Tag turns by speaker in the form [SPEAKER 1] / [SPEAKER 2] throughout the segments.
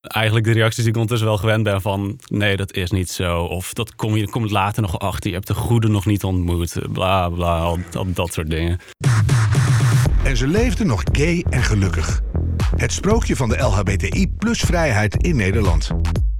[SPEAKER 1] eigenlijk de reacties die ik ondertussen wel gewend ben van... nee, dat is niet zo. Of dat kom je, kom je later nog achter. Je hebt de goede nog niet ontmoet. Bla, bla, al, al dat soort dingen.
[SPEAKER 2] En ze leefden nog gay en gelukkig. Het sprookje van de LHBTI plus vrijheid in Nederland.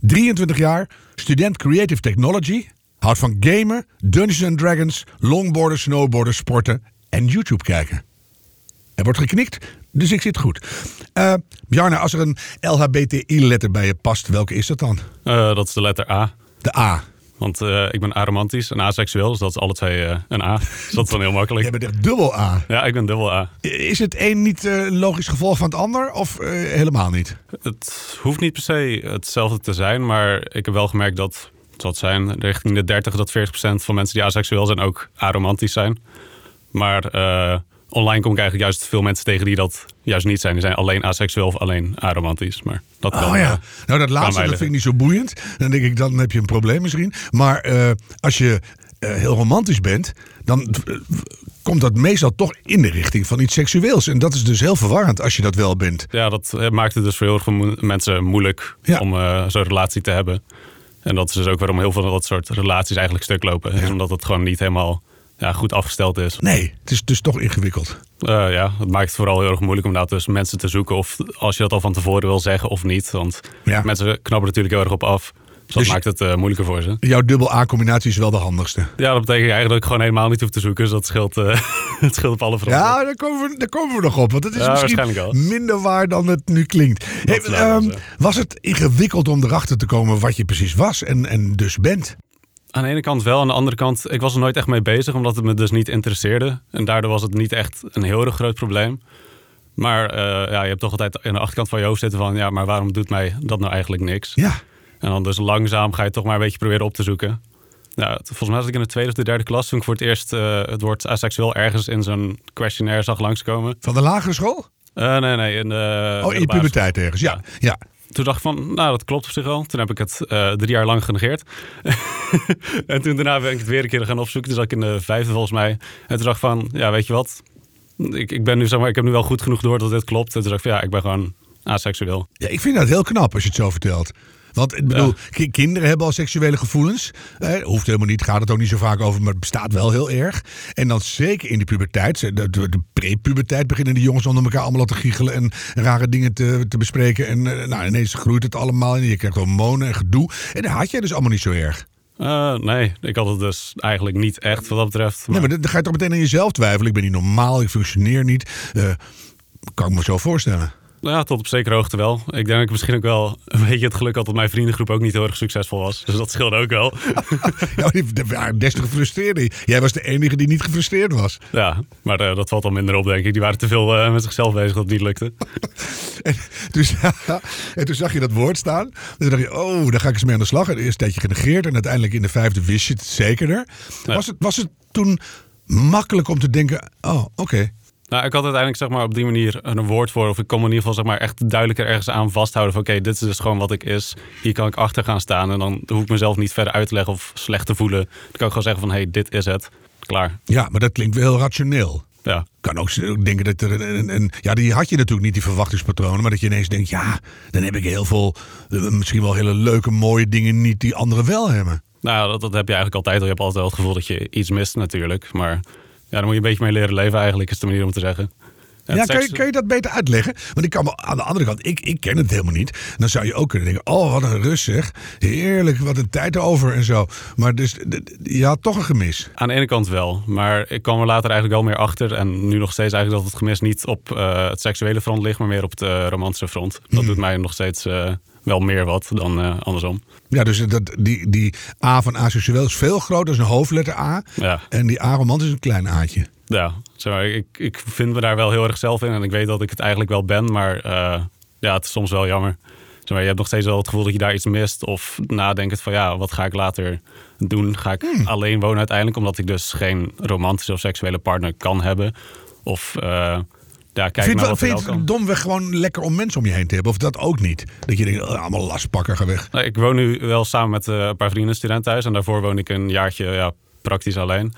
[SPEAKER 2] 23 jaar, student Creative Technology. Houdt van gamen, Dungeons and Dragons, longboarden, snowboarden, sporten en YouTube kijken. Er wordt geknikt, dus ik zit goed. Eh, Bjarne, als er een LHBTI-letter bij je past, welke is dat dan?
[SPEAKER 1] Eh, dat is de letter A.
[SPEAKER 2] De A.
[SPEAKER 1] Want eh, ik ben aromantisch en aseksueel. Dus dat is alle twee eh, een A. Dus dat is dan heel
[SPEAKER 2] Jij
[SPEAKER 1] makkelijk.
[SPEAKER 2] bent echt dubbel A.
[SPEAKER 1] Ja, ik ben dubbel A.
[SPEAKER 2] Is het een niet eh, een logisch gevolg van het ander of eh, helemaal niet?
[SPEAKER 1] Het hoeft niet per se hetzelfde te zijn, maar ik heb wel gemerkt dat het zal het zijn richting de 30 tot 40 procent van mensen die aseksueel zijn ook aromantisch zijn. Maar eh, online kom ik eigenlijk juist veel mensen tegen die dat juist niet zijn. Die zijn alleen aseksueel of alleen aromantisch. Maar dat kan,
[SPEAKER 2] Oh
[SPEAKER 1] eh,
[SPEAKER 2] ja, nou dat
[SPEAKER 1] mij
[SPEAKER 2] laatste dat vind
[SPEAKER 1] liggen.
[SPEAKER 2] ik niet zo boeiend. Dan denk ik, dan heb je een probleem misschien. Maar eh, als je eh, heel romantisch bent, dan eh, komt dat meestal toch in de richting van iets seksueels. En dat is dus heel verwarrend als je dat wel bent.
[SPEAKER 1] ja, dat eh, maakt het dus voor heel veel mo- mensen moeilijk
[SPEAKER 2] Ja.
[SPEAKER 1] om eh, zo'n relatie te hebben. En dat is dus ook waarom heel veel van dat soort relaties eigenlijk stuk lopen. Is omdat het gewoon niet helemaal ja, goed afgesteld is.
[SPEAKER 2] Nee, het is dus toch ingewikkeld.
[SPEAKER 1] Eh, ja, het maakt het vooral heel erg moeilijk om daar dus mensen te zoeken. Of als je dat al van tevoren wil zeggen of niet. Want
[SPEAKER 2] Ja.
[SPEAKER 1] mensen knappen er natuurlijk heel erg op af. Dus dat
[SPEAKER 2] Dus je-
[SPEAKER 1] maakt het eh, moeilijker voor ze.
[SPEAKER 2] Jouw dubbel A-combinatie is wel de handigste.
[SPEAKER 1] Ja, dat betekent eigenlijk dat ik gewoon helemaal niet hoef te zoeken. Dus dat scheelt, eh, het scheelt op alle fronten.
[SPEAKER 2] Ja, daar komen, we, daar komen we nog op. Want het is
[SPEAKER 1] Ja, waarschijnlijk
[SPEAKER 2] misschien
[SPEAKER 1] wel.
[SPEAKER 2] minder waar dan het nu klinkt. Hey,
[SPEAKER 1] laten we
[SPEAKER 2] ehm,
[SPEAKER 1] zeggen.
[SPEAKER 2] was het ingewikkeld om erachter te komen wat je precies was en, en dus bent?
[SPEAKER 1] Aan de ene kant wel, aan de andere kant, ik was er nooit echt mee bezig. Omdat het me dus niet interesseerde. En daardoor was het niet echt een heel erg groot probleem. Maar eh, ja, je hebt toch altijd aan de achterkant van je hoofd zitten van... ja, maar waarom doet mij dat nou eigenlijk niks?
[SPEAKER 2] Ja.
[SPEAKER 1] En dan dus langzaam ga je het toch maar een beetje proberen op te zoeken. Nou, het- volgens mij was ik in de tweede of de derde klas toen ik voor het eerst eh, het woord aseksueel ergens in zo'n questionnaire zag langskomen.
[SPEAKER 2] Van de lagere school?
[SPEAKER 1] Eh, nee, nee. In de,
[SPEAKER 2] Oh, in je
[SPEAKER 1] middelbare
[SPEAKER 2] puberteit ergens, ja. ja.
[SPEAKER 1] school. Toen dacht ik van, nou dat klopt op zich wel. Toen heb ik het eh, drie jaar lang genegeerd. en toen daarna ben ik het weer een keer gaan opzoeken. Toen zat ik in de vijfde volgens mij. En toen dacht ik van, ja weet je wat. Ik, ik, ben nu, zeg maar, ik heb nu wel goed genoeg door dat dit klopt. En toen dacht ik van, ja ik ben gewoon aseksueel.
[SPEAKER 2] ja. Ik vind dat heel knap als je het zo vertelt. Want ik bedoel, ki- kinderen hebben al seksuele gevoelens. Eh, hoeft helemaal niet, gaat het ook niet zo vaak over, maar het bestaat wel heel erg. En dan zeker in de puberteit, ze- de, de de pre-puberteit, beginnen de jongens onder elkaar allemaal al te giechelen en rare dingen te, te bespreken. En eh, nou, ineens groeit het allemaal en je krijgt hormonen en gedoe. En dat had jij dus allemaal niet zo erg.
[SPEAKER 1] Eh, nee, ik had het dus eigenlijk niet echt wat dat betreft.
[SPEAKER 2] Nee, maar dan dan ga je toch meteen aan jezelf twijfelen. Ik ben niet normaal, ik functioneer niet. Eh, kan ik me zo voorstellen.
[SPEAKER 1] Nou Ja, tot op zekere hoogte wel. Ik denk dat ik misschien ook wel een beetje het geluk had dat mijn vriendengroep ook niet heel erg succesvol was. Dus dat scheelde ook wel.
[SPEAKER 2] Ja, die- die waren des te gefrustreerder. Jij was de enige die niet gefrustreerd was.
[SPEAKER 1] Ja, maar eh, dat valt al minder op, denk ik. Die waren te veel eh, met zichzelf bezig dat het niet lukte.
[SPEAKER 2] En, dus, ja, en toen zag je dat woord staan. En toen dacht je, oh, daar ga ik eens mee aan de slag. En eerst een tijdje genegeerd. En uiteindelijk in de vijfde wist je het zekerder. Was, het, was het toen makkelijk om te denken, oh, oké.
[SPEAKER 1] Nou, ik had uiteindelijk zeg maar, op die manier een woord voor. Of ik kon me in ieder geval zeg maar, echt duidelijker ergens aan vasthouden. Van oké, dit is dus gewoon wat ik is. Hier kan ik achter gaan staan. En dan hoef ik mezelf niet verder uit te leggen of slecht te voelen. Dan kan ik gewoon zeggen van hé, hey, dit is het. Klaar.
[SPEAKER 2] Ja, maar dat klinkt wel heel rationeel.
[SPEAKER 1] Ja.
[SPEAKER 2] kan ook z- ook denken dat er een, een- een- Ja, die had je natuurlijk niet, die verwachtingspatronen. Maar dat je ineens denkt, ja, dan heb ik heel veel... eh, Misschien wel hele leuke, mooie dingen niet die anderen wel hebben.
[SPEAKER 1] Nou, dat, dat heb je eigenlijk altijd al. Je hebt altijd wel het gevoel dat je iets mist natuurlijk. Maar ja, daar moet je een beetje mee leren leven eigenlijk, is de manier om te zeggen.
[SPEAKER 2] Ja,
[SPEAKER 1] het
[SPEAKER 2] kan je,
[SPEAKER 1] seks-
[SPEAKER 2] kan je dat beter uitleggen? Want ik kan me aan de andere kant, ik, ik ken het helemaal niet. Dan zou je ook kunnen denken: oh, wat een rust zeg. Heerlijk, wat een tijd over en zo. Maar dus, d- d- je had toch een gemis.
[SPEAKER 1] Aan de ene kant wel, maar ik kwam er later eigenlijk wel meer achter. En nu nog steeds eigenlijk dat het gemis niet op eh, het seksuele front ligt, maar meer op het eh, romantische front.
[SPEAKER 2] Hmm.
[SPEAKER 1] Dat doet mij nog steeds eh, wel meer wat dan eh, andersom.
[SPEAKER 2] Ja, dus dat, die, die A van asexueel is veel groter, dat is een hoofdletter A.
[SPEAKER 1] Ja,
[SPEAKER 2] En die A-romant is een klein A'tje.
[SPEAKER 1] ja. Zeg maar, ik, ik vind me daar wel heel erg zelf in en ik weet dat ik het eigenlijk wel ben, maar eh, ja, het is soms wel jammer. Zeg maar, je hebt nog steeds wel het gevoel dat je daar iets mist of nadenkend van ja, wat ga ik later doen? Ga ik
[SPEAKER 2] Hmm.
[SPEAKER 1] alleen wonen uiteindelijk, omdat ik dus geen romantische of seksuele partner kan hebben? Of eh, ja, kijk
[SPEAKER 2] vind
[SPEAKER 1] maar
[SPEAKER 2] je
[SPEAKER 1] wat
[SPEAKER 2] het,
[SPEAKER 1] er wel
[SPEAKER 2] wel- vind je
[SPEAKER 1] kan.
[SPEAKER 2] het domweg gewoon lekker om mensen om je heen te hebben? Of dat ook niet? Dat je denkt, oh, allemaal lastpakker, ga weg.
[SPEAKER 1] Nou, ik woon nu wel samen met eh, een paar vrienden student thuis. En daarvoor woon ik een jaartje ja, praktisch alleen.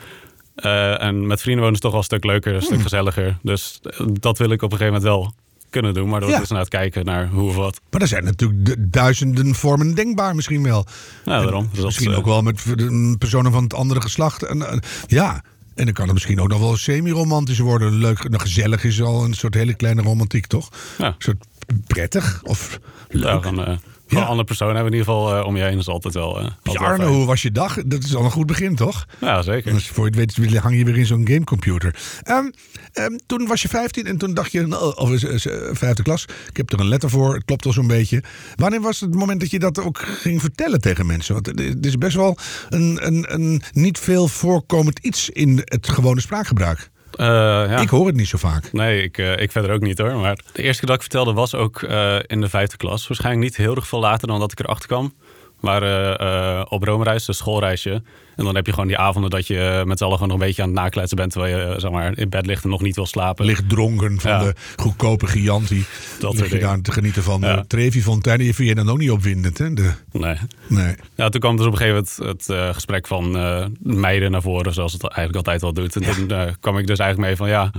[SPEAKER 1] Eh, en met vrienden wonen is toch wel een stuk leuker, een
[SPEAKER 2] Hmm.
[SPEAKER 1] stuk gezelliger. Dus eh, dat wil ik op een gegeven moment wel kunnen doen. Maar door
[SPEAKER 2] Ja.
[SPEAKER 1] dus naar het kijken naar hoe of wat.
[SPEAKER 2] Maar er zijn natuurlijk du- duizenden vormen denkbaar misschien wel.
[SPEAKER 1] Nou, daarom. Dus dat,
[SPEAKER 2] misschien
[SPEAKER 1] eh,
[SPEAKER 2] ook wel met v- de- mm, personen van het andere geslacht. En, eh, ja, en dan kan het misschien ook nog wel semi-romantisch worden. Leuk, nou, gezellig is al een soort hele kleine romantiek, toch?
[SPEAKER 1] Ja.
[SPEAKER 2] Een soort prettig of
[SPEAKER 1] Ja,
[SPEAKER 2] leuk.
[SPEAKER 1] van, eh,
[SPEAKER 2] Ja.
[SPEAKER 1] van een andere persoon hebben we in ieder geval eh, om je heen. is altijd wel... eh, altijd wel
[SPEAKER 2] Jarno,
[SPEAKER 1] fijn.
[SPEAKER 2] hoe was je dag? Dat is al een goed begin, toch?
[SPEAKER 1] Ja, zeker.
[SPEAKER 2] Anders voor je het weet hang je weer in zo'n gamecomputer. Ehm, ehm, toen was je 15 en toen dacht je, nou, of is- is, eh, vijfde klas, ik heb er een letter voor, het klopt al zo'n beetje. Wanneer was het moment dat je dat ook ging vertellen tegen mensen? Want het- het is best wel een, een, een niet veel voorkomend iets in het gewone spraakgebruik.
[SPEAKER 1] Eh, ja.
[SPEAKER 2] Ik hoor het niet zo vaak.
[SPEAKER 1] Nee, ik, eh, ik verder ook niet hoor. Maar de eerste keer dat ik vertelde was ook eh, in de vijfde klas. Waarschijnlijk niet heel erg veel later dan dat ik erachter kwam. Maar eh, eh, op Roomreis, een schoolreisje. En dan heb je gewoon die avonden dat je eh, met z'n allen gewoon nog een beetje aan het nakletsen bent. Terwijl je eh, zeg maar, in bed ligt en nog niet wil slapen.
[SPEAKER 2] Licht dronken van
[SPEAKER 1] Ja.
[SPEAKER 2] de goedkope Gianti.
[SPEAKER 1] soort
[SPEAKER 2] Dat je
[SPEAKER 1] dingen.
[SPEAKER 2] daar te genieten van.
[SPEAKER 1] Ja.
[SPEAKER 2] De Trevi Fontaine, die vind je dan ook niet opwindend. Hè? De,
[SPEAKER 1] Nee.
[SPEAKER 2] nee.
[SPEAKER 1] Ja, toen kwam dus op een gegeven moment het eh, gesprek van eh, meiden naar voren. Zoals het eigenlijk altijd wel doet. En toen eh, kwam ik dus eigenlijk mee van ja,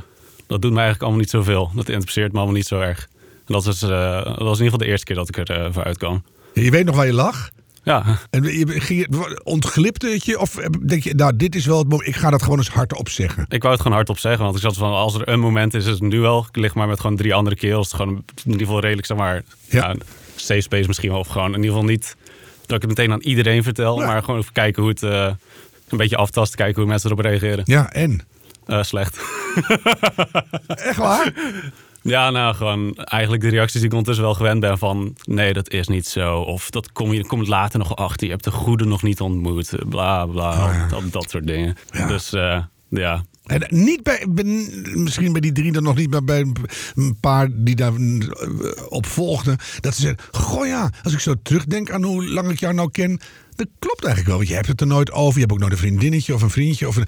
[SPEAKER 1] dat doet me eigenlijk allemaal niet zoveel. Dat interesseert me allemaal niet zo erg. En dat, is, eh, dat was in ieder geval de eerste keer dat ik er eh, voor uitkwam.
[SPEAKER 2] Je weet nog waar je lag?
[SPEAKER 1] Ja,
[SPEAKER 2] En je- ging je- ontglipte het je? Of denk je, nou, dit is wel het moment. Ik ga dat gewoon eens hardop zeggen.
[SPEAKER 1] Ik wou het gewoon hardop zeggen, want ik zat van als er een moment is, is het nu wel. Ik lig maar met gewoon drie andere kerels. Gewoon in ieder geval redelijk, zeg maar,
[SPEAKER 2] Ja.
[SPEAKER 1] ja. safe space misschien wel. Of gewoon in ieder geval niet dat ik het meteen aan iedereen vertel,
[SPEAKER 2] Ja.
[SPEAKER 1] maar gewoon even kijken hoe het eh, een beetje aftast, kijken hoe mensen erop reageren.
[SPEAKER 2] Ja, en?
[SPEAKER 1] Eh, slecht.
[SPEAKER 2] Echt waar?
[SPEAKER 1] Ja, nou gewoon eigenlijk de reacties die ik ondertussen wel gewend ben van nee, dat is niet zo. Of dat kom je komt later nog achter. Je hebt de goede nog niet ontmoet. Bla bla. dat, dat soort dingen.
[SPEAKER 2] Oh, Ja.
[SPEAKER 1] Dus eh, ja,
[SPEAKER 2] En niet bij, ben- misschien bij die drie dan nog niet, maar bij een een paar die daar eh, op volgden. Dat ze zeggen, goh ja, als ik zo terugdenk aan hoe lang ik jou nou ken. Dat klopt eigenlijk wel, want je hebt het er nooit over. Je hebt ook nooit een vriendinnetje of een vriendje. Of een,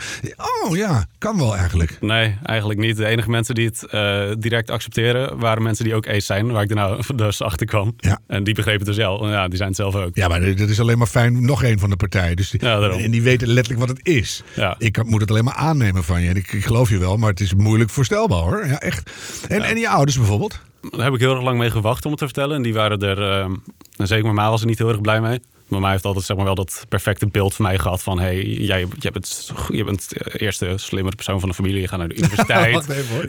[SPEAKER 2] oh ja, kan wel eigenlijk.
[SPEAKER 1] Nee, eigenlijk niet. De enige mensen die het eh, direct accepteren waren mensen die ook ace zijn, waar ik daarna dus achter kwam.
[SPEAKER 2] Ja.
[SPEAKER 1] En die begrepen het dus wel. Ja, die zijn het zelf ook.
[SPEAKER 2] Ja, maar dat is alleen maar fijn. Nog één van de partijen. Dus die-
[SPEAKER 1] Ja, daarom.
[SPEAKER 2] en die weten letterlijk wat het is.
[SPEAKER 1] Ja.
[SPEAKER 2] Ik kan- moet het alleen maar aannemen van je. En ik, ik geloof je wel, maar het is moeilijk voorstelbaar hoor. Ja, echt. En, en je ouders bijvoorbeeld?
[SPEAKER 1] Daar heb ik heel erg lang mee gewacht om het te vertellen. En die waren er, ehm, en zeker mijn ma was er niet heel erg blij mee. Mijn ma heeft altijd zeg maar, wel dat perfecte beeld van mij gehad van... hey, jij, jij bent, je bent de eerste slimmere persoon van de familie, je gaat naar de universiteit.
[SPEAKER 2] Oh, Wacht even hoor.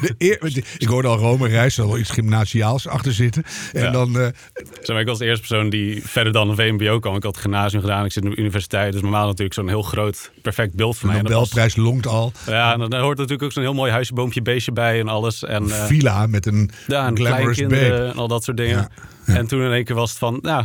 [SPEAKER 2] De eer- ik hoorde al Rome Reis, er zal wel iets gymnasiaals achter zitten. En
[SPEAKER 1] Ja.
[SPEAKER 2] dan, eh,
[SPEAKER 1] Zeg maar, ik was de eerste persoon die verder dan een VMBO kwam. Ik had het gymnasium gedaan, ik zit op de universiteit. Dus mijn ma had natuurlijk zo'n heel groot, perfect beeld van
[SPEAKER 2] de
[SPEAKER 1] mij. En dat was-
[SPEAKER 2] Nobelprijs lonkt al.
[SPEAKER 1] Ja, en dan hoort natuurlijk ook zo'n heel mooi huisje, boompje, beestje bij en alles. En, eh,
[SPEAKER 2] Villa met een
[SPEAKER 1] ja, en
[SPEAKER 2] glamorous bed.
[SPEAKER 1] kleinkinderen en al dat soort dingen.
[SPEAKER 2] Ja,
[SPEAKER 1] En toen in één keer was het van, nou,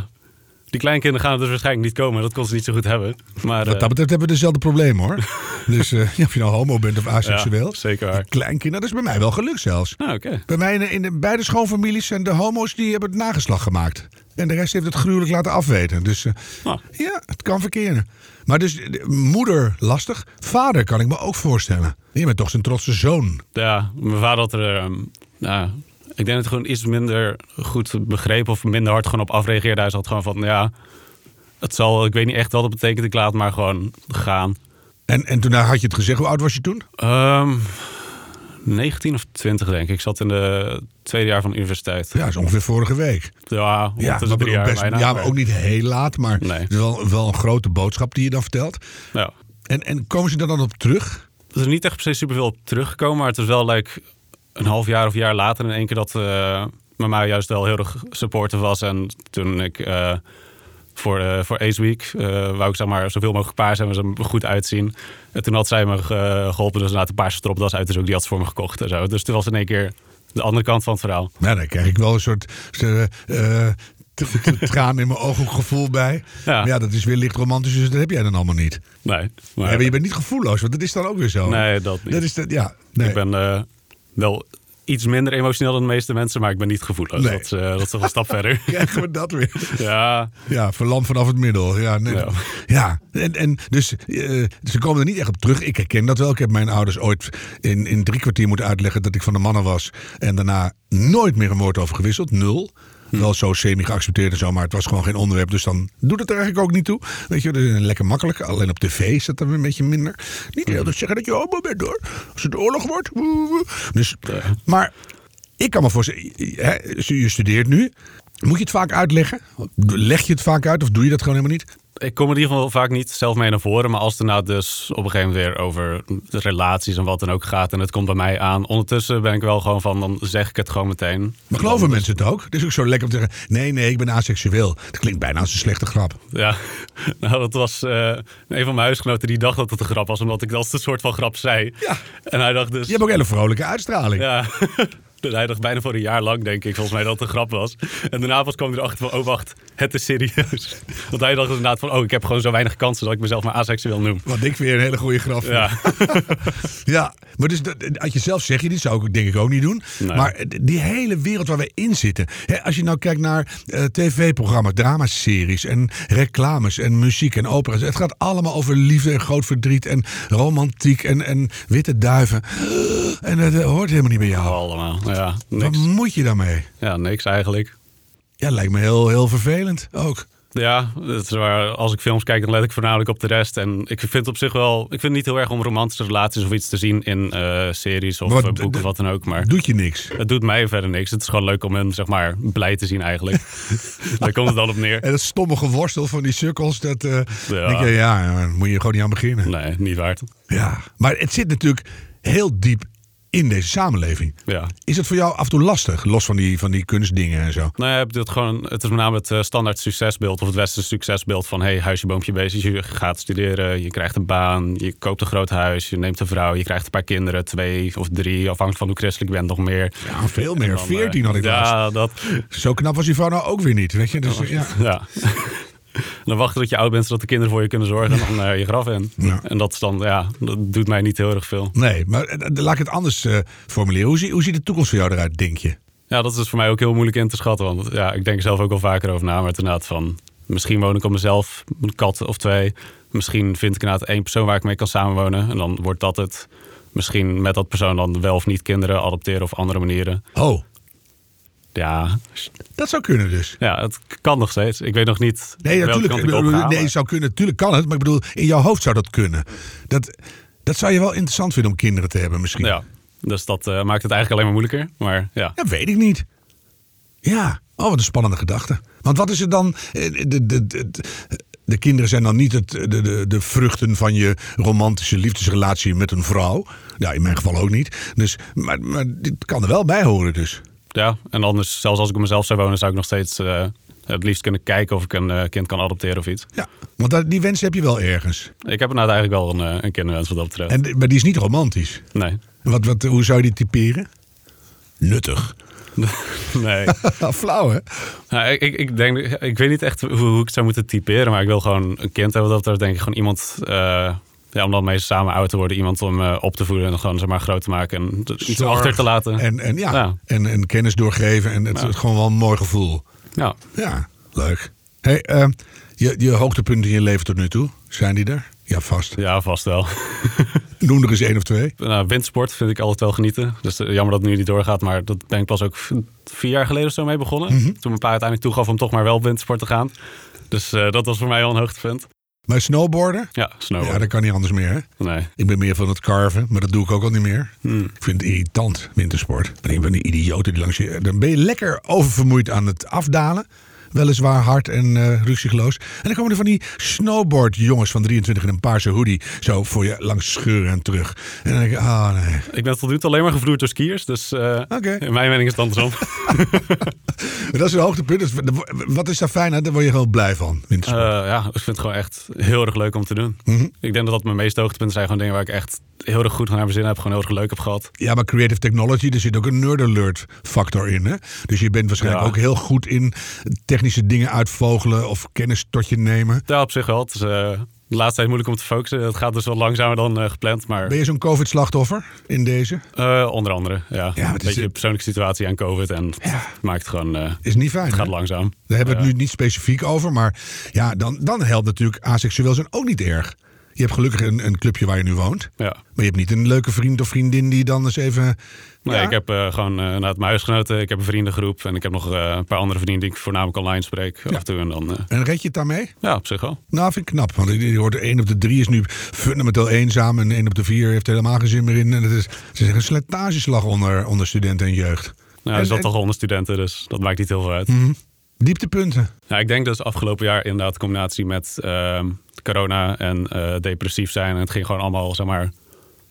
[SPEAKER 1] die kleinkinderen gaan er dus waarschijnlijk niet komen. Dat kon ze niet zo goed hebben. Maar
[SPEAKER 2] Wat
[SPEAKER 1] eh,
[SPEAKER 2] dat betreft hebben we dezelfde probleem hoor. dus eh, ja, of je nou homo bent of aseksueel.
[SPEAKER 1] Ja, zeker waar.
[SPEAKER 2] Die Kleinkinderen, dat is bij mij wel geluk zelfs.
[SPEAKER 1] nou, oké.
[SPEAKER 2] Bij mij in de, in de beide schoonfamilies zijn de homo's die hebben het nageslag gemaakt. En de rest heeft het gruwelijk laten afweten. Dus eh,
[SPEAKER 1] Nou,
[SPEAKER 2] ja, het kan verkeren. Maar dus eh, de- moeder lastig, vader kan ik me ook voorstellen. Je bent toch zijn trotse zoon.
[SPEAKER 1] ja, mijn vader had er, ehm, nou, ik denk dat hij gewoon iets minder goed begreep of minder hard gewoon op afreageerde. Hij zat gewoon van, ja, het zal, ik weet niet echt wat het betekent, ik laat het maar gewoon gaan.
[SPEAKER 2] En, en toen had je het gezegd, hoe oud was je toen?
[SPEAKER 1] Ehm, 19 of 20 denk ik. Ik zat in de tweede jaar van de universiteit.
[SPEAKER 2] Ja, dat is ongeveer vorige week.
[SPEAKER 1] Ja,
[SPEAKER 2] Ja,
[SPEAKER 1] ja tussen drie
[SPEAKER 2] bedoel,
[SPEAKER 1] jaar
[SPEAKER 2] best-
[SPEAKER 1] bijna.
[SPEAKER 2] ja, maar ook niet heel laat, maar
[SPEAKER 1] Nee.
[SPEAKER 2] het is wel, wel een grote boodschap die je dan vertelt.
[SPEAKER 1] Ja.
[SPEAKER 2] En, en komen ze daar dan op terug?
[SPEAKER 1] Er is niet echt precies superveel op teruggekomen, maar het is wel like, een half jaar of jaar later in één keer dat eh, mama juist wel heel erg supporter was. En toen ik eh, voor, eh, voor Ace Week eh, wou ik zeg maar zoveel mogelijk paars hebben, ze er goed uitzien. En toen had zij me eh, geholpen, dus laat de paarse stropdas uit, dus ook die had ze voor me gekocht en zo. Dus toen was in één keer de andere kant van het verhaal.
[SPEAKER 2] Nou, daar krijg ik wel een soort eh, eh, t- t- traan in mijn ogen gevoel bij.
[SPEAKER 1] Ja.
[SPEAKER 2] Maar ja, dat is weer licht romantisch, dus dat heb jij dan allemaal niet.
[SPEAKER 1] Nee,
[SPEAKER 2] Ja,
[SPEAKER 1] maar,
[SPEAKER 2] maar je bent niet gevoelloos, want dat is dan ook weer zo.
[SPEAKER 1] nee dat niet.
[SPEAKER 2] Dat is dat, ja. Nee.
[SPEAKER 1] Ik ben eh, wel iets minder emotioneel dan de meeste mensen, maar ik ben niet gevoelloos.
[SPEAKER 2] Nee.
[SPEAKER 1] Dat, is, eh, dat is toch een stap verder.
[SPEAKER 2] Krijgen we dat weer?
[SPEAKER 1] Ja,
[SPEAKER 2] Ja, verlamd vanaf het middel. Ja, nee.
[SPEAKER 1] Ja.
[SPEAKER 2] ja. En, en dus eh, ze komen er niet echt op terug. Ik herken dat wel. Ik heb mijn ouders ooit in, in drie kwartier moeten uitleggen dat ik van de mannen was. En daarna nooit meer een woord over gewisseld. Nul. Wel zo semi geaccepteerd en zo, maar het was gewoon geen onderwerp. Dus dan doet het er eigenlijk ook niet toe. Weet je, dat is lekker makkelijk. Alleen op tv is dat dan een beetje minder. Niet heel dat zeggen dat je homo bent hoor. Als het oorlog wordt. woe, woe. Dus, maar ik kan me voorstellen, hè, je studeert nu. Moet je het vaak uitleggen? Leg je het vaak uit of doe je dat gewoon helemaal niet?
[SPEAKER 1] ik kom in ieder geval vaak niet zelf mee naar voren. Maar als het er nou dus op een gegeven moment weer over de relaties en wat dan ook gaat. En het komt bij mij aan. Ondertussen ben ik wel gewoon van, dan zeg ik het gewoon meteen.
[SPEAKER 2] Maar geloven mensen het ook? Het is ook zo lekker om te zeggen, nee, nee, ik ben aseksueel. Dat klinkt bijna als een slechte grap.
[SPEAKER 1] Ja, nou dat was eh, een van mijn huisgenoten die dacht dat het een grap was. Omdat ik dat als een soort van grap zei.
[SPEAKER 2] Ja.
[SPEAKER 1] En hij dacht dus...
[SPEAKER 2] Je hebt ook een hele vrolijke uitstraling.
[SPEAKER 1] Ja, dus hij dacht bijna voor een jaar lang, denk ik, volgens mij dat het een grap was. En daarna pas kwam hij erachter van, oh wacht, het is serieus. Want hij dacht inderdaad van, oh ik heb gewoon zo weinig kansen dat ik mezelf maar aseksueel noem.
[SPEAKER 2] Wat ik weer een hele goede grap vind.
[SPEAKER 1] Ja,
[SPEAKER 2] Ja, maar dus dat, uit jezelf zeg je dit, zou ik denk ik ook niet doen.
[SPEAKER 1] Nee.
[SPEAKER 2] Maar die hele wereld waar we in zitten. Hè, als je nou kijkt naar eh, tv-programma's, dramaseries en reclames en muziek en opera's. Het gaat allemaal over liefde en groot verdriet en romantiek en, en witte duiven. En dat eh, hoort helemaal niet bij jou.
[SPEAKER 1] allemaal. Ja,
[SPEAKER 2] Wat
[SPEAKER 1] niks.
[SPEAKER 2] moet je daarmee?
[SPEAKER 1] Ja, niks eigenlijk.
[SPEAKER 2] Ja, lijkt me heel, heel vervelend ook.
[SPEAKER 1] Ja, het is waar, als ik films kijk, dan let ik voornamelijk op de rest. En ik vind het op zich wel, ik vind het niet heel erg om romantische relaties of iets te zien in eh, series of
[SPEAKER 2] Wat-
[SPEAKER 1] eh, boeken of wat dan ook. Maar
[SPEAKER 2] Doet je niks.
[SPEAKER 1] het doet mij verder niks. Het is gewoon leuk om hem, zeg maar, blij te zien eigenlijk. Daar komt het dan op neer.
[SPEAKER 2] En dat stomme geworstel van die sukkels, dat eh,
[SPEAKER 1] Ja.
[SPEAKER 2] denk je, ja, daar moet je gewoon niet aan beginnen.
[SPEAKER 1] Nee, niet waard.
[SPEAKER 2] Ja, maar het zit natuurlijk heel diep in deze samenleving.
[SPEAKER 1] Ja.
[SPEAKER 2] Is het voor jou af en toe lastig, los van die, van die kunstdingen en zo?
[SPEAKER 1] Nou ja, ik bedoel het, gewoon, het is met name het eh, standaard succesbeeld of het westerse succesbeeld van hey, huisje, boompje, beestje. Je gaat studeren, je krijgt een baan, je koopt een groot huis, je neemt een vrouw, je krijgt een paar kinderen, twee of drie, afhankelijk van hoe christelijk je bent, nog meer.
[SPEAKER 2] Ja, veel
[SPEAKER 1] En
[SPEAKER 2] meer.
[SPEAKER 1] dan, eh,
[SPEAKER 2] Veertien had ik laatst.
[SPEAKER 1] Ja, dat.
[SPEAKER 2] Zo knap was die vrouw nou ook weer niet, weet je? Dus, ja.
[SPEAKER 1] Ja. Dan wachten tot je oud bent, zodat de kinderen voor je kunnen zorgen en dan eh, je graf in.
[SPEAKER 2] Ja.
[SPEAKER 1] En dat is dan, ja, dat doet mij niet heel erg veel.
[SPEAKER 2] Nee, maar eh, laat ik het anders eh, formuleren. Hoe, zie, hoe ziet de toekomst voor jou eruit, denk je?
[SPEAKER 1] Ja, dat is voor mij ook heel moeilijk in te schatten. Want ja, ik denk er zelf ook al vaker over na. Maar het inderdaad van, misschien woon ik op mezelf, een kat of twee. Misschien vind ik inderdaad één persoon waar ik mee kan samenwonen. En dan wordt dat het. Misschien met dat persoon dan wel of niet kinderen adopteren of andere manieren.
[SPEAKER 2] Oh,
[SPEAKER 1] Ja,
[SPEAKER 2] dat zou kunnen dus.
[SPEAKER 1] ja het kan nog steeds. Ik weet nog niet
[SPEAKER 2] Nee,
[SPEAKER 1] welke
[SPEAKER 2] natuurlijk.
[SPEAKER 1] kant
[SPEAKER 2] Ik
[SPEAKER 1] ik op
[SPEAKER 2] bedoel,
[SPEAKER 1] ga,
[SPEAKER 2] Nee,
[SPEAKER 1] maar-
[SPEAKER 2] zou kunnen. Natuurlijk kan het, maar ik bedoel, in jouw hoofd zou dat kunnen. Dat, dat zou je wel interessant vinden om kinderen te hebben misschien.
[SPEAKER 1] Ja, dus dat eh, maakt het eigenlijk alleen maar moeilijker. Maar ja.
[SPEAKER 2] Dat weet ik niet. Ja, oh, wat een spannende gedachte. Want wat is er dan. eh, De, de, de, de kinderen zijn dan niet het, de, de, de vruchten van je romantische liefdesrelatie met een vrouw. Ja, in mijn geval ook niet. Dus, maar, maar dit kan er wel bij horen, dus.
[SPEAKER 1] Ja, en anders, zelfs als ik op mezelf zou wonen, zou ik nog steeds eh, het liefst kunnen kijken of ik een eh, kind kan adopteren of iets.
[SPEAKER 2] Ja, want daar- die wens heb je wel ergens.
[SPEAKER 1] Ik heb inderdaad eigenlijk wel een, eh, een kinderwens wat dat betreft.
[SPEAKER 2] En, maar die is niet romantisch.
[SPEAKER 1] Nee.
[SPEAKER 2] Wat, wat, hoe zou je die typeren? Nuttig.
[SPEAKER 1] nee.
[SPEAKER 2] Flauw, hè?
[SPEAKER 1] Nou, ik, ik, ik, denk, ik weet niet echt hoe, hoe ik het zou moeten typeren, maar ik wil gewoon een kind hebben. Dat er denk ik gewoon iemand, eh, ja, om dan mee samen oud te worden, iemand om eh, op te voeden en gewoon zeg maar groot te maken en d- iets
[SPEAKER 2] Zorg
[SPEAKER 1] achter te laten.
[SPEAKER 2] En, en, ja,
[SPEAKER 1] Ja.
[SPEAKER 2] En, en kennis doorgeven. En het, het gewoon wel een mooi gevoel.
[SPEAKER 1] Ja.
[SPEAKER 2] Ja, leuk. Hey, eh, je, je hoogtepunten in je leven tot nu toe, zijn die er? Ja, vast.
[SPEAKER 1] ja, vast wel.
[SPEAKER 2] Noem er eens één of twee.
[SPEAKER 1] nou, windsport vind ik altijd wel genieten. Dus eh, jammer dat het nu niet doorgaat, maar dat ben ik pas ook v- vier jaar geleden of zo mee begonnen. Toen mijn pa uiteindelijk toegaf om toch maar wel op windsport te gaan. Dus eh, dat was voor mij al een hoogtepunt.
[SPEAKER 2] Maar snowboarden?
[SPEAKER 1] Ja,
[SPEAKER 2] Ja,
[SPEAKER 1] snowboard.
[SPEAKER 2] dat kan niet anders meer, hè?
[SPEAKER 1] Nee.
[SPEAKER 2] Ik ben meer van het carven, maar dat doe ik ook al niet meer. Ik vind het irritant, wintersport. Dan denk ik van die idioten die langs je... Dan ben je lekker oververmoeid aan het afdalen. Weliswaar hard en eh ruziegeloos. En dan komen er van die snowboardjongens van 23 in een paarse hoodie. Zo voor je langs scheuren en terug. En dan denk ik, ah nee.
[SPEAKER 1] Ik ben tot nu toe alleen maar gevloerd door skiers, dus eh,
[SPEAKER 2] Oké.
[SPEAKER 1] in mijn mening is het andersom.
[SPEAKER 2] Maar dat is een hoogtepunt. Dat is- Wat is daar fijn aan? Daar word je gewoon blij van.
[SPEAKER 1] Eh,
[SPEAKER 2] wintersport.
[SPEAKER 1] ja, ik vind het gewoon echt heel erg leuk om te doen. Ik denk dat dat mijn meeste hoogtepunten zijn. Gewoon dingen waar ik echt heel erg goed naar mijn zin heb. Gewoon heel erg leuk heb gehad.
[SPEAKER 2] Ja, maar creative technology, er zit ook een nerd alert factor in. Hè? Dus je bent waarschijnlijk
[SPEAKER 1] Ja.
[SPEAKER 2] ook heel goed in technische dingen uitvogelen of kennis tot je nemen.
[SPEAKER 1] Ja, op zich wel. Het is eh, de laatste tijd moeilijk om te focussen. Het gaat dus wel langzamer dan eh, gepland. Maar
[SPEAKER 2] Ben je zo'n COVID-slachtoffer in deze?
[SPEAKER 1] eh, onder andere, ja.
[SPEAKER 2] maar het
[SPEAKER 1] een
[SPEAKER 2] is-
[SPEAKER 1] beetje persoonlijke situatie aan COVID. En het maakt het gewoon... eh,
[SPEAKER 2] Is niet fijn.
[SPEAKER 1] het gaat
[SPEAKER 2] hè?
[SPEAKER 1] langzaam.
[SPEAKER 2] Daar hebben we het nu niet specifiek over. Maar ja, dan, dan helpt natuurlijk aseksueel zijn ook niet erg. Je hebt gelukkig een, een clubje waar je nu woont.
[SPEAKER 1] Ja.
[SPEAKER 2] Maar je hebt niet een leuke vriend of vriendin die dan eens even...
[SPEAKER 1] Nee,
[SPEAKER 2] Ja.
[SPEAKER 1] ik heb eh, gewoon eh naar mijn huisgenoten. Ik heb een vriendengroep. En ik heb nog eh, een paar andere vrienden die ik voornamelijk online spreek. Af en toe en dan... eh,
[SPEAKER 2] En red je het daarmee?
[SPEAKER 1] ja, op zich wel.
[SPEAKER 2] Nou, vind ik knap. Want je hoort 1 op de 3 is nu fundamenteel eenzaam. En 1 op de 4 heeft er helemaal geen zin meer in. En het is, het is echt een slijtageslag onder, onder studenten en jeugd.
[SPEAKER 1] Nou,
[SPEAKER 2] En-
[SPEAKER 1] er zat
[SPEAKER 2] en- Mhm.
[SPEAKER 1] toch al onder studenten, dus dat maakt niet heel veel uit.
[SPEAKER 2] Dieptepunten.
[SPEAKER 1] Nou, ik denk dus afgelopen jaar inderdaad de combinatie met ehm, corona en eh, depressief zijn. En het ging gewoon allemaal, zeg maar,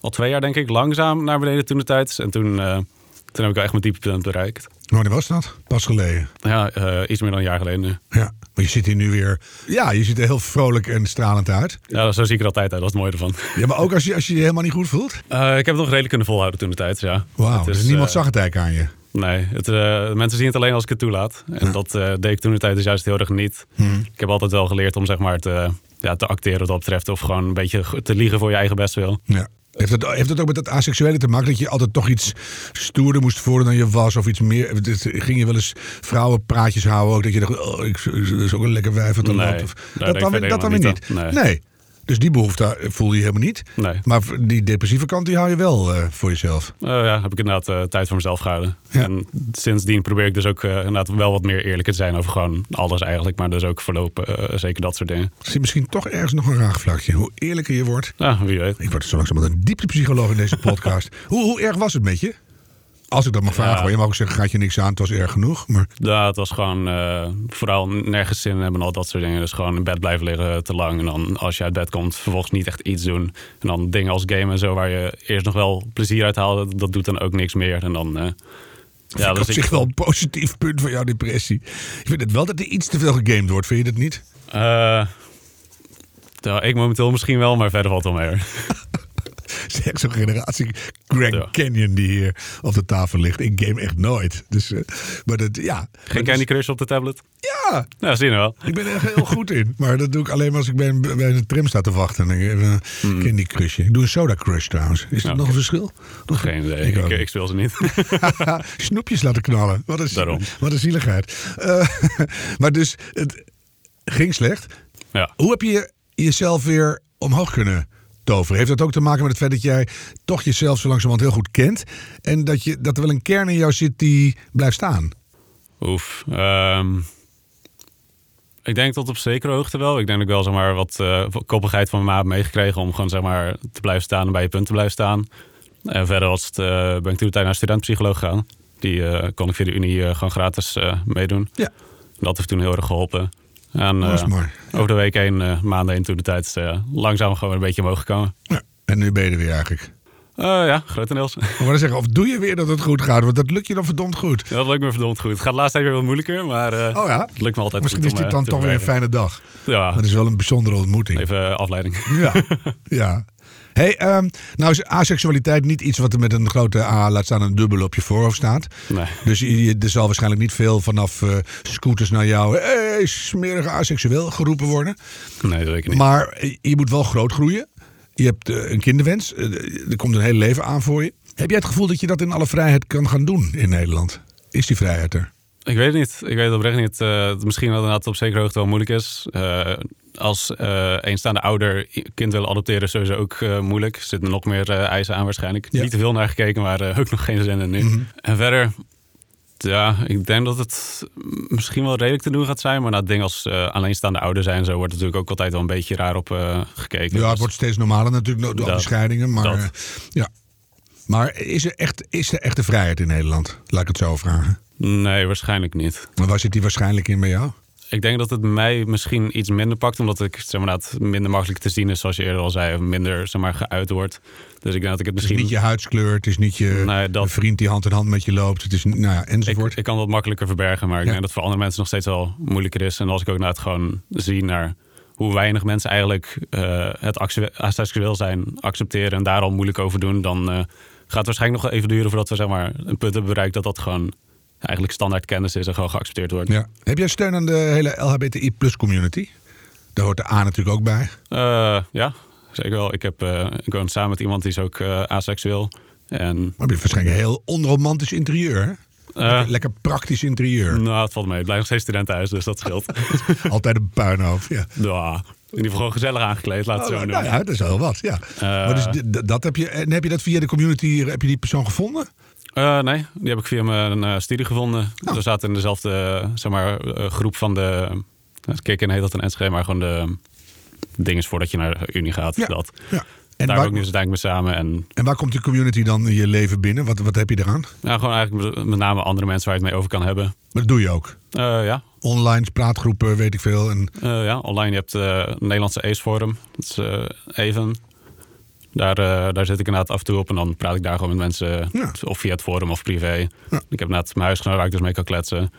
[SPEAKER 1] al twee jaar denk ik, langzaam naar beneden toen de tijd. En toen, eh, toen heb ik wel echt mijn dieptepunt bereikt.
[SPEAKER 2] Wanneer was dat? Pas geleden.
[SPEAKER 1] Ja, eh, iets meer dan een jaar geleden nu.
[SPEAKER 2] Ja. Maar je zit hier nu weer... Ja, je ziet er heel vrolijk en stralend uit.
[SPEAKER 1] Ja, zo zie ik er altijd uit. Dat is het mooie ervan.
[SPEAKER 2] Ja, maar ook als je als je, je helemaal niet goed voelt.
[SPEAKER 1] Eh, ik heb het nog redelijk kunnen volhouden toen de tijd, ja.
[SPEAKER 2] Wauw,
[SPEAKER 1] Het
[SPEAKER 2] dus niemand
[SPEAKER 1] eh,
[SPEAKER 2] zag het eigenlijk aan je.
[SPEAKER 1] Nee, het, eh, mensen zien het alleen als ik het toelaat. En dat eh, deed ik toen de tijd dus juist heel erg niet.
[SPEAKER 2] Hmm.
[SPEAKER 1] Ik heb altijd wel geleerd om zeg maar te, ja, te acteren wat dat betreft. Of gewoon een beetje te liegen voor je eigen bestwil.
[SPEAKER 2] Ja. Heeft dat, heeft dat ook met dat asexuele te maken? Dat je altijd toch iets stoerder moest voordoen dan je was? Of iets meer? dit- Ging je wel eens vrouwenpraatjes houden ook? Dat je dacht, oh, ik, dat is ook een lekker wijf uit de
[SPEAKER 1] Nee,
[SPEAKER 2] land. Of,
[SPEAKER 1] daar denk
[SPEAKER 2] dat
[SPEAKER 1] ik
[SPEAKER 2] dan, weer-
[SPEAKER 1] verder
[SPEAKER 2] dat dan weer
[SPEAKER 1] helemaal
[SPEAKER 2] niet.
[SPEAKER 1] niet aan.
[SPEAKER 2] Nee.
[SPEAKER 1] Nee.
[SPEAKER 2] Dus die behoefte voelde je helemaal niet.
[SPEAKER 1] Nee.
[SPEAKER 2] Maar die depressieve kant die hou je wel eh, voor jezelf.
[SPEAKER 1] Eh, ja, heb ik inderdaad eh, tijd voor mezelf gehouden.
[SPEAKER 2] Ja.
[SPEAKER 1] En sindsdien probeer ik dus ook eh, inderdaad wel wat meer eerlijk te zijn over gewoon alles eigenlijk. Maar dus ook voorlopen, eh, zeker dat soort dingen.
[SPEAKER 2] Er zit misschien toch ergens nog een raagvlakje. Hoe eerlijker je wordt.
[SPEAKER 1] Nou, wie weet.
[SPEAKER 2] Ik word zo langzamerhand een dieptepsycholoog in deze podcast. hoe, hoe erg was het met je? Als ik dat mag vragen. hoor. Je mag ook zeggen, gaat je niks aan. Het was erg genoeg. Maar
[SPEAKER 1] Ja, het was gewoon eh, vooral nergens zin hebben en al dat soort dingen. Dus gewoon in bed blijven liggen te lang. En dan als je uit bed komt, vervolgens niet echt iets doen. En dan dingen als gamen en zo, waar je eerst nog wel plezier uit haalde. Dat doet dan ook niks meer. En dan... eh,
[SPEAKER 2] Ja,
[SPEAKER 1] ja,
[SPEAKER 2] dat is
[SPEAKER 1] dus
[SPEAKER 2] op
[SPEAKER 1] ik,
[SPEAKER 2] zich wel een positief punt van jouw depressie. Ik vind het wel dat er iets te veel gegamed wordt, vind je dat niet?
[SPEAKER 1] eh, ja, ik momenteel misschien wel, maar verder valt het wel mee. hoor.
[SPEAKER 2] Het is echt zo'n generatie Grand
[SPEAKER 1] Ja.
[SPEAKER 2] Canyon die hier op de tafel ligt. Ik game echt nooit. Dus, eh, maar dat, ja.
[SPEAKER 1] Geen
[SPEAKER 2] Dat is-
[SPEAKER 1] Candy Crush op de tablet?
[SPEAKER 2] Ja,
[SPEAKER 1] Nou, zien we wel.
[SPEAKER 2] ik ben er echt heel goed in. Maar dat doe ik alleen maar als ik bij een, bij een tram sta te wachten. En ik even een Candy Crushje. Ik doe een Soda Crush trouwens. Is dat
[SPEAKER 1] Nou,
[SPEAKER 2] nog
[SPEAKER 1] oké.
[SPEAKER 2] een verschil?
[SPEAKER 1] Geen idee. Ik, eh,
[SPEAKER 2] Ik ook
[SPEAKER 1] ik,
[SPEAKER 2] niet.
[SPEAKER 1] ik speel ze niet.
[SPEAKER 2] Snoepjes laten knallen. Wat een,
[SPEAKER 1] Daarom.
[SPEAKER 2] Wat een zieligheid. Eh, maar dus, het ging slecht.
[SPEAKER 1] ja.
[SPEAKER 2] Hoe heb je jezelf weer omhoog kunnen toveren? Heeft dat ook te maken met het feit dat jij toch jezelf zo langzamerhand heel goed kent? En dat, je, dat er wel een kern in jou zit die blijft staan?
[SPEAKER 1] Oef. ehm, ik denk tot op zekere hoogte wel. Ik denk dat ik wel zeg maar, wat eh, koppigheid van mijn ma heb meegekregen om gewoon zeg maar, te blijven staan en bij je punt te blijven staan. En verder was het, eh, ben ik toen de tijd naar een studentpsycholoog gegaan. Die eh, kon ik via de Unie eh, gewoon gratis eh, meedoen.
[SPEAKER 2] Ja.
[SPEAKER 1] Dat heeft toen heel erg geholpen. En
[SPEAKER 2] Dat is
[SPEAKER 1] eh,
[SPEAKER 2] mooi.
[SPEAKER 1] over de week heen, eh, maanden heen, toen de tijd is, eh, langzaam gewoon een beetje omhoog gekomen.
[SPEAKER 2] Ja. En nu ben je er weer eigenlijk.
[SPEAKER 1] Eh, ja, grotendeels.
[SPEAKER 2] Ik wou net zeggen, of doe je weer dat het goed gaat? Want dat lukt je dan verdomd goed.
[SPEAKER 1] dat lukt me verdomd goed. Het gaat de laatste tijd weer wat moeilijker, maar eh,
[SPEAKER 2] Oh ja.
[SPEAKER 1] het lukt me altijd
[SPEAKER 2] Misschien
[SPEAKER 1] goed
[SPEAKER 2] is
[SPEAKER 1] om,
[SPEAKER 2] dit
[SPEAKER 1] eh,
[SPEAKER 2] dan
[SPEAKER 1] te
[SPEAKER 2] toch weer een
[SPEAKER 1] verwerken.
[SPEAKER 2] fijne dag.
[SPEAKER 1] Ja,
[SPEAKER 2] Dat is wel een bijzondere ontmoeting.
[SPEAKER 1] even eh, afleiding.
[SPEAKER 2] Ja. ja. Hey, ehm, nou is asexualiteit niet iets wat er met een grote A, laat staan een dubbel op je voorhoofd staat.
[SPEAKER 1] Nee.
[SPEAKER 2] Dus je- je- er zal waarschijnlijk niet veel vanaf eh, scooters naar jou, hey, smerige aseksueel, geroepen worden.
[SPEAKER 1] Nee, zeker niet.
[SPEAKER 2] Maar eh, je moet wel groot groeien. Je hebt eh, een kinderwens. Eh, er komt een hele leven aan voor je. Heb jij het gevoel dat je dat in alle vrijheid kan gaan doen in Nederland? Is die vrijheid er?
[SPEAKER 1] Ik weet het niet. Ik weet het oprecht niet. Eh, het- misschien dat het inderdaad op zekere hoogte wel moeilijk is. Eh, als eh, eenstaande ouder i- kind wil adopteren is sowieso ook eh, moeilijk. Er zitten nog meer eh, eisen aan waarschijnlijk.
[SPEAKER 2] Ja. Mhm.
[SPEAKER 1] Niet te veel naar gekeken, maar eh, ook nog geen zin in nu. En verder, ja, ik denk dat het misschien wel redelijk te doen gaat zijn. Maar na dingen als eh, alleenstaande ouder zijn, en zo wordt het natuurlijk ook altijd wel een beetje raar op eh, gekeken.
[SPEAKER 2] Ja, het
[SPEAKER 1] Dus-
[SPEAKER 2] wordt steeds normaler natuurlijk door al die
[SPEAKER 1] Dat.
[SPEAKER 2] scheidingen. Maar,
[SPEAKER 1] Dat.
[SPEAKER 2] eh, ja. maar is, er echt, is er echte vrijheid in Nederland? Laat ik het zo vragen.
[SPEAKER 1] Nee, waarschijnlijk niet.
[SPEAKER 2] Maar waar zit die waarschijnlijk in bij jou?
[SPEAKER 1] Ik denk dat het mij misschien iets minder pakt, omdat ik zeg maar, dat minder makkelijk te zien is, zoals je eerder al zei, of minder zeg maar, geuit wordt. Dus ik denk dat ik het
[SPEAKER 2] Het is
[SPEAKER 1] misschien.
[SPEAKER 2] niet je huidskleur, het is niet je
[SPEAKER 1] Nee, dat-
[SPEAKER 2] een vriend die hand in hand met je loopt. Het is, nou ja,
[SPEAKER 1] ik,
[SPEAKER 2] enzovoort.
[SPEAKER 1] ik kan dat makkelijker verbergen, maar ik
[SPEAKER 2] Ja.
[SPEAKER 1] denk dat voor andere mensen nog steeds wel moeilijker is. En als ik ook naar het gewoon zie naar hoe weinig mensen eigenlijk eh, het actu- asexueel zijn accepteren en daar al moeilijk over doen, dan eh, gaat het waarschijnlijk nog wel even duren voordat we zeg maar, een punt hebben bereikt dat dat gewoon eigenlijk standaard kennis is en gewoon geaccepteerd wordt.
[SPEAKER 2] ja. Heb jij steun aan de hele LHBTI plus community? Daar hoort de A natuurlijk ook bij.
[SPEAKER 1] Eh, ja, zeker wel. Ik, heb, eh, ik woon samen met iemand die is ook eh asexueel. En
[SPEAKER 2] Maar je hebt waarschijnlijk een heel onromantisch interieur. hè?
[SPEAKER 1] eh,
[SPEAKER 2] Lekker praktisch interieur.
[SPEAKER 1] nou, het valt mee. Ik blijf nog steeds student thuis, dus dat scheelt.
[SPEAKER 2] Altijd een puinhoofd. Ja.
[SPEAKER 1] ja, in ieder geval gewoon gezellig aangekleed, laat het
[SPEAKER 2] Oh,
[SPEAKER 1] zo
[SPEAKER 2] nou,
[SPEAKER 1] noemen.
[SPEAKER 2] nou ja, dat is wel wat. Ja.
[SPEAKER 1] Eh.
[SPEAKER 2] maar dus d- d- dat heb je, en heb je dat via de community, eh, heb je die persoon gevonden?
[SPEAKER 1] Eh, nee, die heb ik via mijn eh, studie gevonden.
[SPEAKER 2] Oh.
[SPEAKER 1] We zaten in dezelfde eh, zeg maar, eh, groep van de... Uh, Kikken heet dat een NSG, maar gewoon de dinges voordat je naar de unie gaat.
[SPEAKER 2] Ja,
[SPEAKER 1] Dat.
[SPEAKER 2] ja. En
[SPEAKER 1] En daar
[SPEAKER 2] waar-
[SPEAKER 1] ben ik nu dus denk ik mee samen. En
[SPEAKER 2] En waar komt die community dan in je leven binnen? Wat, wat heb je eraan?
[SPEAKER 1] ja, gewoon eigenlijk met- met name andere mensen waar je het mee over kan hebben.
[SPEAKER 2] Maar dat doe je ook.
[SPEAKER 1] Eh, ja,
[SPEAKER 2] Online praatgroepen, weet ik veel. En
[SPEAKER 1] Eh, ja, online. Je hebt eh, het Nederlandse Ace Forum. Dat is eh, even. Daar, eh, daar zit ik inderdaad af en toe op en dan praat ik daar gewoon met mensen. eh,
[SPEAKER 2] Ja.
[SPEAKER 1] Of via het forum of privé. Ik heb inderdaad mijn huisgenoot waar ik dus mee kan kletsen.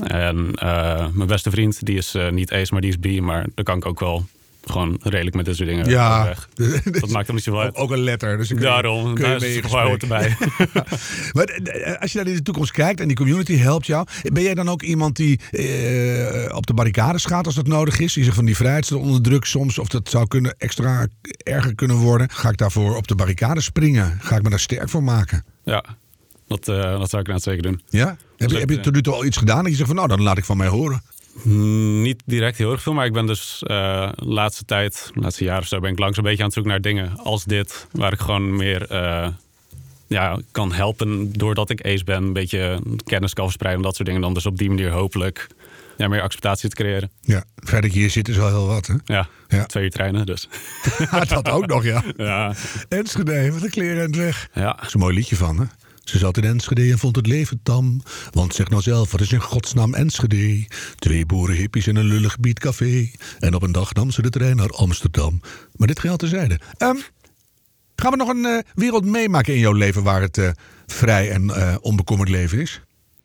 [SPEAKER 1] En eh, mijn beste vriend, die is eh, niet Ace, maar die is B. Maar daar kan ik ook wel gewoon redelijk met dit soort dingen
[SPEAKER 2] ja,
[SPEAKER 1] overweg. Dat maakt hem niet zoveel uit.
[SPEAKER 2] ook een letter. Dus dan kun je-
[SPEAKER 1] Daarom,
[SPEAKER 2] kun je
[SPEAKER 1] daar
[SPEAKER 2] mee
[SPEAKER 1] is
[SPEAKER 2] in
[SPEAKER 1] het gewoon
[SPEAKER 2] gesprek.
[SPEAKER 1] erbij.
[SPEAKER 2] Maar d- d- als je naar de toekomst kijkt en die community helpt jou, ben jij dan ook iemand die eh, op de barricades gaat als dat nodig is? Die zegt van die vrijheid staat onder druk soms, of dat zou kunnen extra erger kunnen worden. Ga ik daarvoor op de barricades springen? Ga ik me daar sterk voor maken?
[SPEAKER 1] ja, dat, eh, dat zou ik inderdaad zeker doen.
[SPEAKER 2] Ja? Heb je,
[SPEAKER 1] lukt,
[SPEAKER 2] heb je
[SPEAKER 1] ja.
[SPEAKER 2] tot nu toe al iets gedaan dat je zegt van nou, dan laat ik van mij horen?
[SPEAKER 1] Mm, Niet direct heel erg veel, maar ik ben dus eh laatste tijd, laatste jaar of zo, ben ik langs een beetje aan het zoeken naar dingen als dit, waar ik gewoon meer eh, ja, kan helpen doordat ik ace ben, een beetje kennis kan verspreiden en dat soort dingen. Dan dus op die manier hopelijk ja, meer acceptatie te creëren.
[SPEAKER 2] Ja, het feit dat je hier zit is wel heel wat, hè?
[SPEAKER 1] Ja,
[SPEAKER 2] Ja.
[SPEAKER 1] twee uur treinen, dus.
[SPEAKER 2] dat ook nog, ja.
[SPEAKER 1] ja,
[SPEAKER 2] Enschede, wat een kleren en weg.
[SPEAKER 1] ja.
[SPEAKER 2] Dat is een mooi liedje van, hè? Ze zat in Enschede en vond het leven tam. Want zeg nou zelf, wat is in godsnaam Enschede? Twee boerenhippies in een lullig bietcafé. En op een dag nam ze de trein naar Amsterdam. Maar dit geldt terzijde. Ehm, gaan we nog een eh, wereld meemaken in jouw leven... waar het eh, vrij en eh, onbekommerd leven is?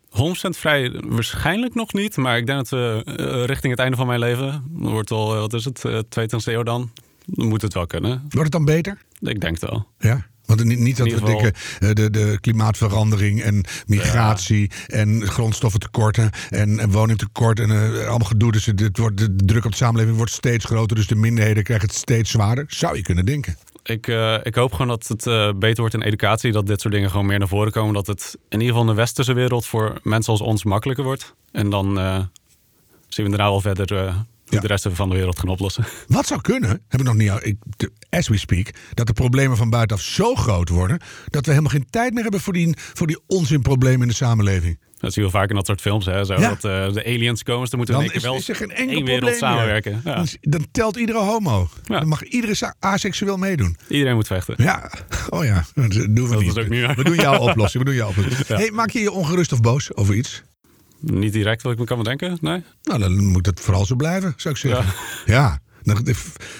[SPEAKER 1] 100% vrij waarschijnlijk nog niet, maar ik denk dat we eh, richting het einde van mijn leven, dat wordt al, eh, wat is het, eh, 22e eeuw dan, moet het wel kunnen.
[SPEAKER 2] Wordt het dan beter?
[SPEAKER 1] Ik denk het wel.
[SPEAKER 2] Ja. Want niet, niet dat
[SPEAKER 1] In
[SPEAKER 2] we
[SPEAKER 1] ieder geval-
[SPEAKER 2] dikke, eh, de, de klimaatverandering en migratie en grondstoffentekorten en, en woningtekort en eh, allemaal gedoe. Dus het, het wordt, de druk op de samenleving wordt steeds groter. Dus de minderheden krijgen het steeds zwaarder. Zou je kunnen denken.
[SPEAKER 1] Ik, eh, ik hoop gewoon dat het eh, beter wordt in educatie. Dat dit soort dingen gewoon meer naar voren komen. Dat het in ieder geval in de westerse wereld voor mensen als ons makkelijker wordt. En dan eh, zien we daarna wel verder eh, hoe
[SPEAKER 2] Ja.
[SPEAKER 1] de rest van de wereld gaan oplossen.
[SPEAKER 2] Wat zou kunnen, hebben we nog niet, ik, de- as we speak, dat de problemen van buitenaf zo groot worden. dat we helemaal geen tijd meer hebben voor die, voor die onzinproblemen in de samenleving.
[SPEAKER 1] Dat zie je wel vaak in dat soort films. Hè, zo,
[SPEAKER 2] Ja.
[SPEAKER 1] Dat eh, de aliens komen, dus dan moeten we
[SPEAKER 2] Dan
[SPEAKER 1] in één
[SPEAKER 2] is,
[SPEAKER 1] keer wel
[SPEAKER 2] is er geen
[SPEAKER 1] één
[SPEAKER 2] enkel probleem.
[SPEAKER 1] wereld
[SPEAKER 2] meer.
[SPEAKER 1] samenwerken. Ja.
[SPEAKER 2] Dan, is- dan telt iedere homo.
[SPEAKER 1] Ja.
[SPEAKER 2] Dan mag iedere sa- aseksueel meedoen.
[SPEAKER 1] Iedereen moet vechten.
[SPEAKER 2] Ja, oh ja, dat doen we niet.
[SPEAKER 1] is ook niet waar.
[SPEAKER 2] we doen jouw oplossing. We doen jouw oplossing. Hey, maak je je ongerust of boos over iets?
[SPEAKER 1] Niet direct wat ik me kan bedenken. Nee.
[SPEAKER 2] Nou, dan moet dat vooral zo blijven, zou ik zeggen. Ja. Dan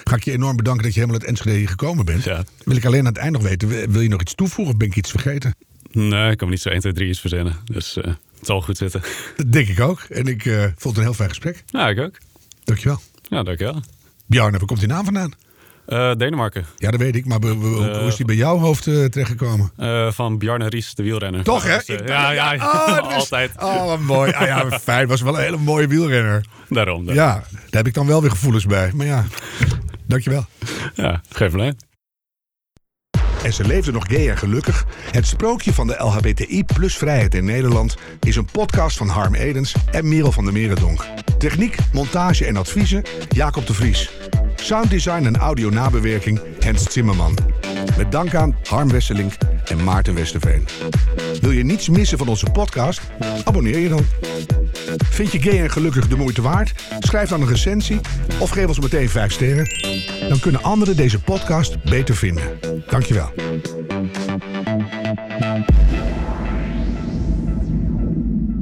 [SPEAKER 2] ga ik je enorm bedanken dat je helemaal uit Enschede hier gekomen bent.
[SPEAKER 1] Ja.
[SPEAKER 2] Wil ik alleen aan het eind nog weten, wil je nog iets toevoegen of ben ik iets vergeten?
[SPEAKER 1] nee, ik kan me niet zo 1, 2, 3 iets verzinnen. Dus eh, het zal goed zitten.
[SPEAKER 2] Dat denk ik ook. En ik eh, vond het een heel fijn gesprek.
[SPEAKER 1] Nou, ik ook.
[SPEAKER 2] Dankjewel.
[SPEAKER 1] Ja, dankjewel.
[SPEAKER 2] Bjarne, waar komt die naam vandaan?
[SPEAKER 1] Eh Denemarken.
[SPEAKER 2] Ja, dat weet ik, maar we- we- hoe- hoe is die bij jouw hoofd eh, terechtgekomen?
[SPEAKER 1] Eh, van Bjarne Ries, de wielrenner.
[SPEAKER 2] Toch, hè?
[SPEAKER 1] Dus, eh,
[SPEAKER 2] Ik-
[SPEAKER 1] ja, ja,
[SPEAKER 2] Oh, dat is-
[SPEAKER 1] altijd.
[SPEAKER 2] Oh, wat mooi. Ah, ja, fijn. Was wel een hele mooie wielrenner.
[SPEAKER 1] Daarom. daarom.
[SPEAKER 2] Ja, daar heb ik dan wel weer gevoelens bij. Maar ja, dankjewel.
[SPEAKER 1] ja geen probleem.
[SPEAKER 2] En ze leefde nog gay en gelukkig. Het sprookje van de LHBTI plus vrijheid in Nederland is een podcast van Harm Edens en Merel van der Merendonk. Techniek, montage en adviezen Jacob de Vries. Sounddesign en audio nabewerking Hens Zimmerman. Met dank aan Harm Wesselink en Maarten Westerveen. Wil je niets missen van onze podcast? Abonneer je dan. Vind je gay en gelukkig de moeite waard? Schrijf dan een recensie of geef ons meteen 5 sterren. Dan kunnen anderen deze podcast beter vinden. Dankjewel.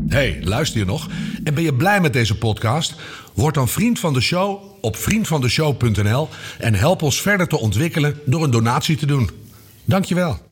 [SPEAKER 2] hey, luister je nog? En ben je blij met deze podcast? Word dan vriend van de show op vriendvandeshow.nl en help ons verder te ontwikkelen door een donatie te doen. Dankjewel.